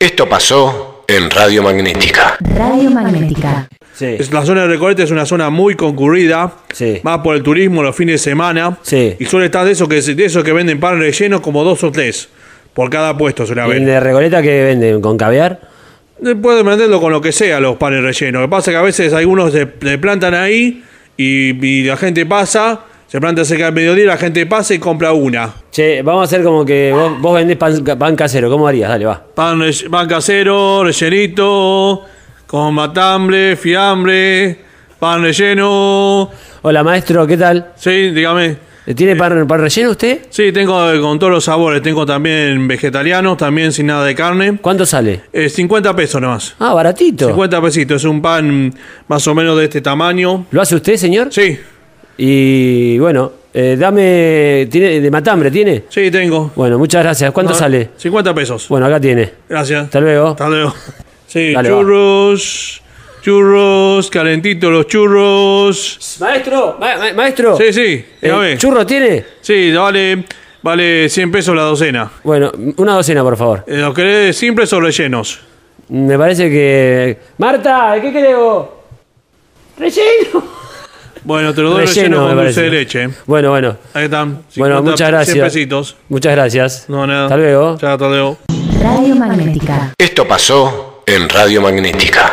Esto pasó en Radio Magnética. Radio Magnética. Sí. Es- La zona de Recoleta es una zona muy concurrida. Sí. Más por el turismo los fines de semana. Sí. Y suele estar de esos que, de esos que venden pan relleno como dos o tres. Por cada puesto suele ¿Y el haber. de Recoleta que venden? ¿Con caviar? Eh, Pueden venderlo con lo que sea los panes rellenos. Lo que pasa es que a veces algunos se, se plantan ahí y, y la gente pasa, se planta cerca del mediodía, la gente pasa y compra una. Che, vamos a hacer como que vos, vos vendés pan, pan casero. ¿Cómo harías? Dale, va. Pan, rell- pan casero, rellenito, con matambre, fiambre, pan relleno. Hola, maestro, ¿qué tal? Sí, dígame. ¿Tiene pan, pan relleno usted? Sí, tengo eh, con todos los sabores. Tengo también vegetarianos, también sin nada de carne. ¿Cuánto sale? Eh, 50 pesos nomás. Ah, baratito. 50 pesitos. Es un pan más o menos de este tamaño. ¿Lo hace usted, señor? Sí, Y bueno, eh, dame. ¿Tiene de matambre? ¿Tiene? sí, tengo. Bueno, muchas gracias. ¿Cuánto No, sale? 50 pesos. Bueno, acá tiene. Gracias. Hasta luego. Hasta luego. Sí, Dale, va. churros. Churros, calentitos los churros. Maestro, ma- ma- maestro. Sí, sí, Eh, dígame. ¿Churro tiene? Sí, vale, vale 100 pesos la docena. Bueno, una docena, por favor. Eh, ¿Los querés simples o rellenos? Me parece que. Marta, ¿de qué querés vos? ¡Relleno! Bueno, te lo doy relleno, Relleno, me con dulce parece. de leche. Bueno, bueno. Ahí están. Bueno, 50, muchas 100 gracias. pesitos. Muchas gracias. No, nada. Hasta luego. Chao, hasta luego. Radio Magnética. Esto pasó en Radio Magnética.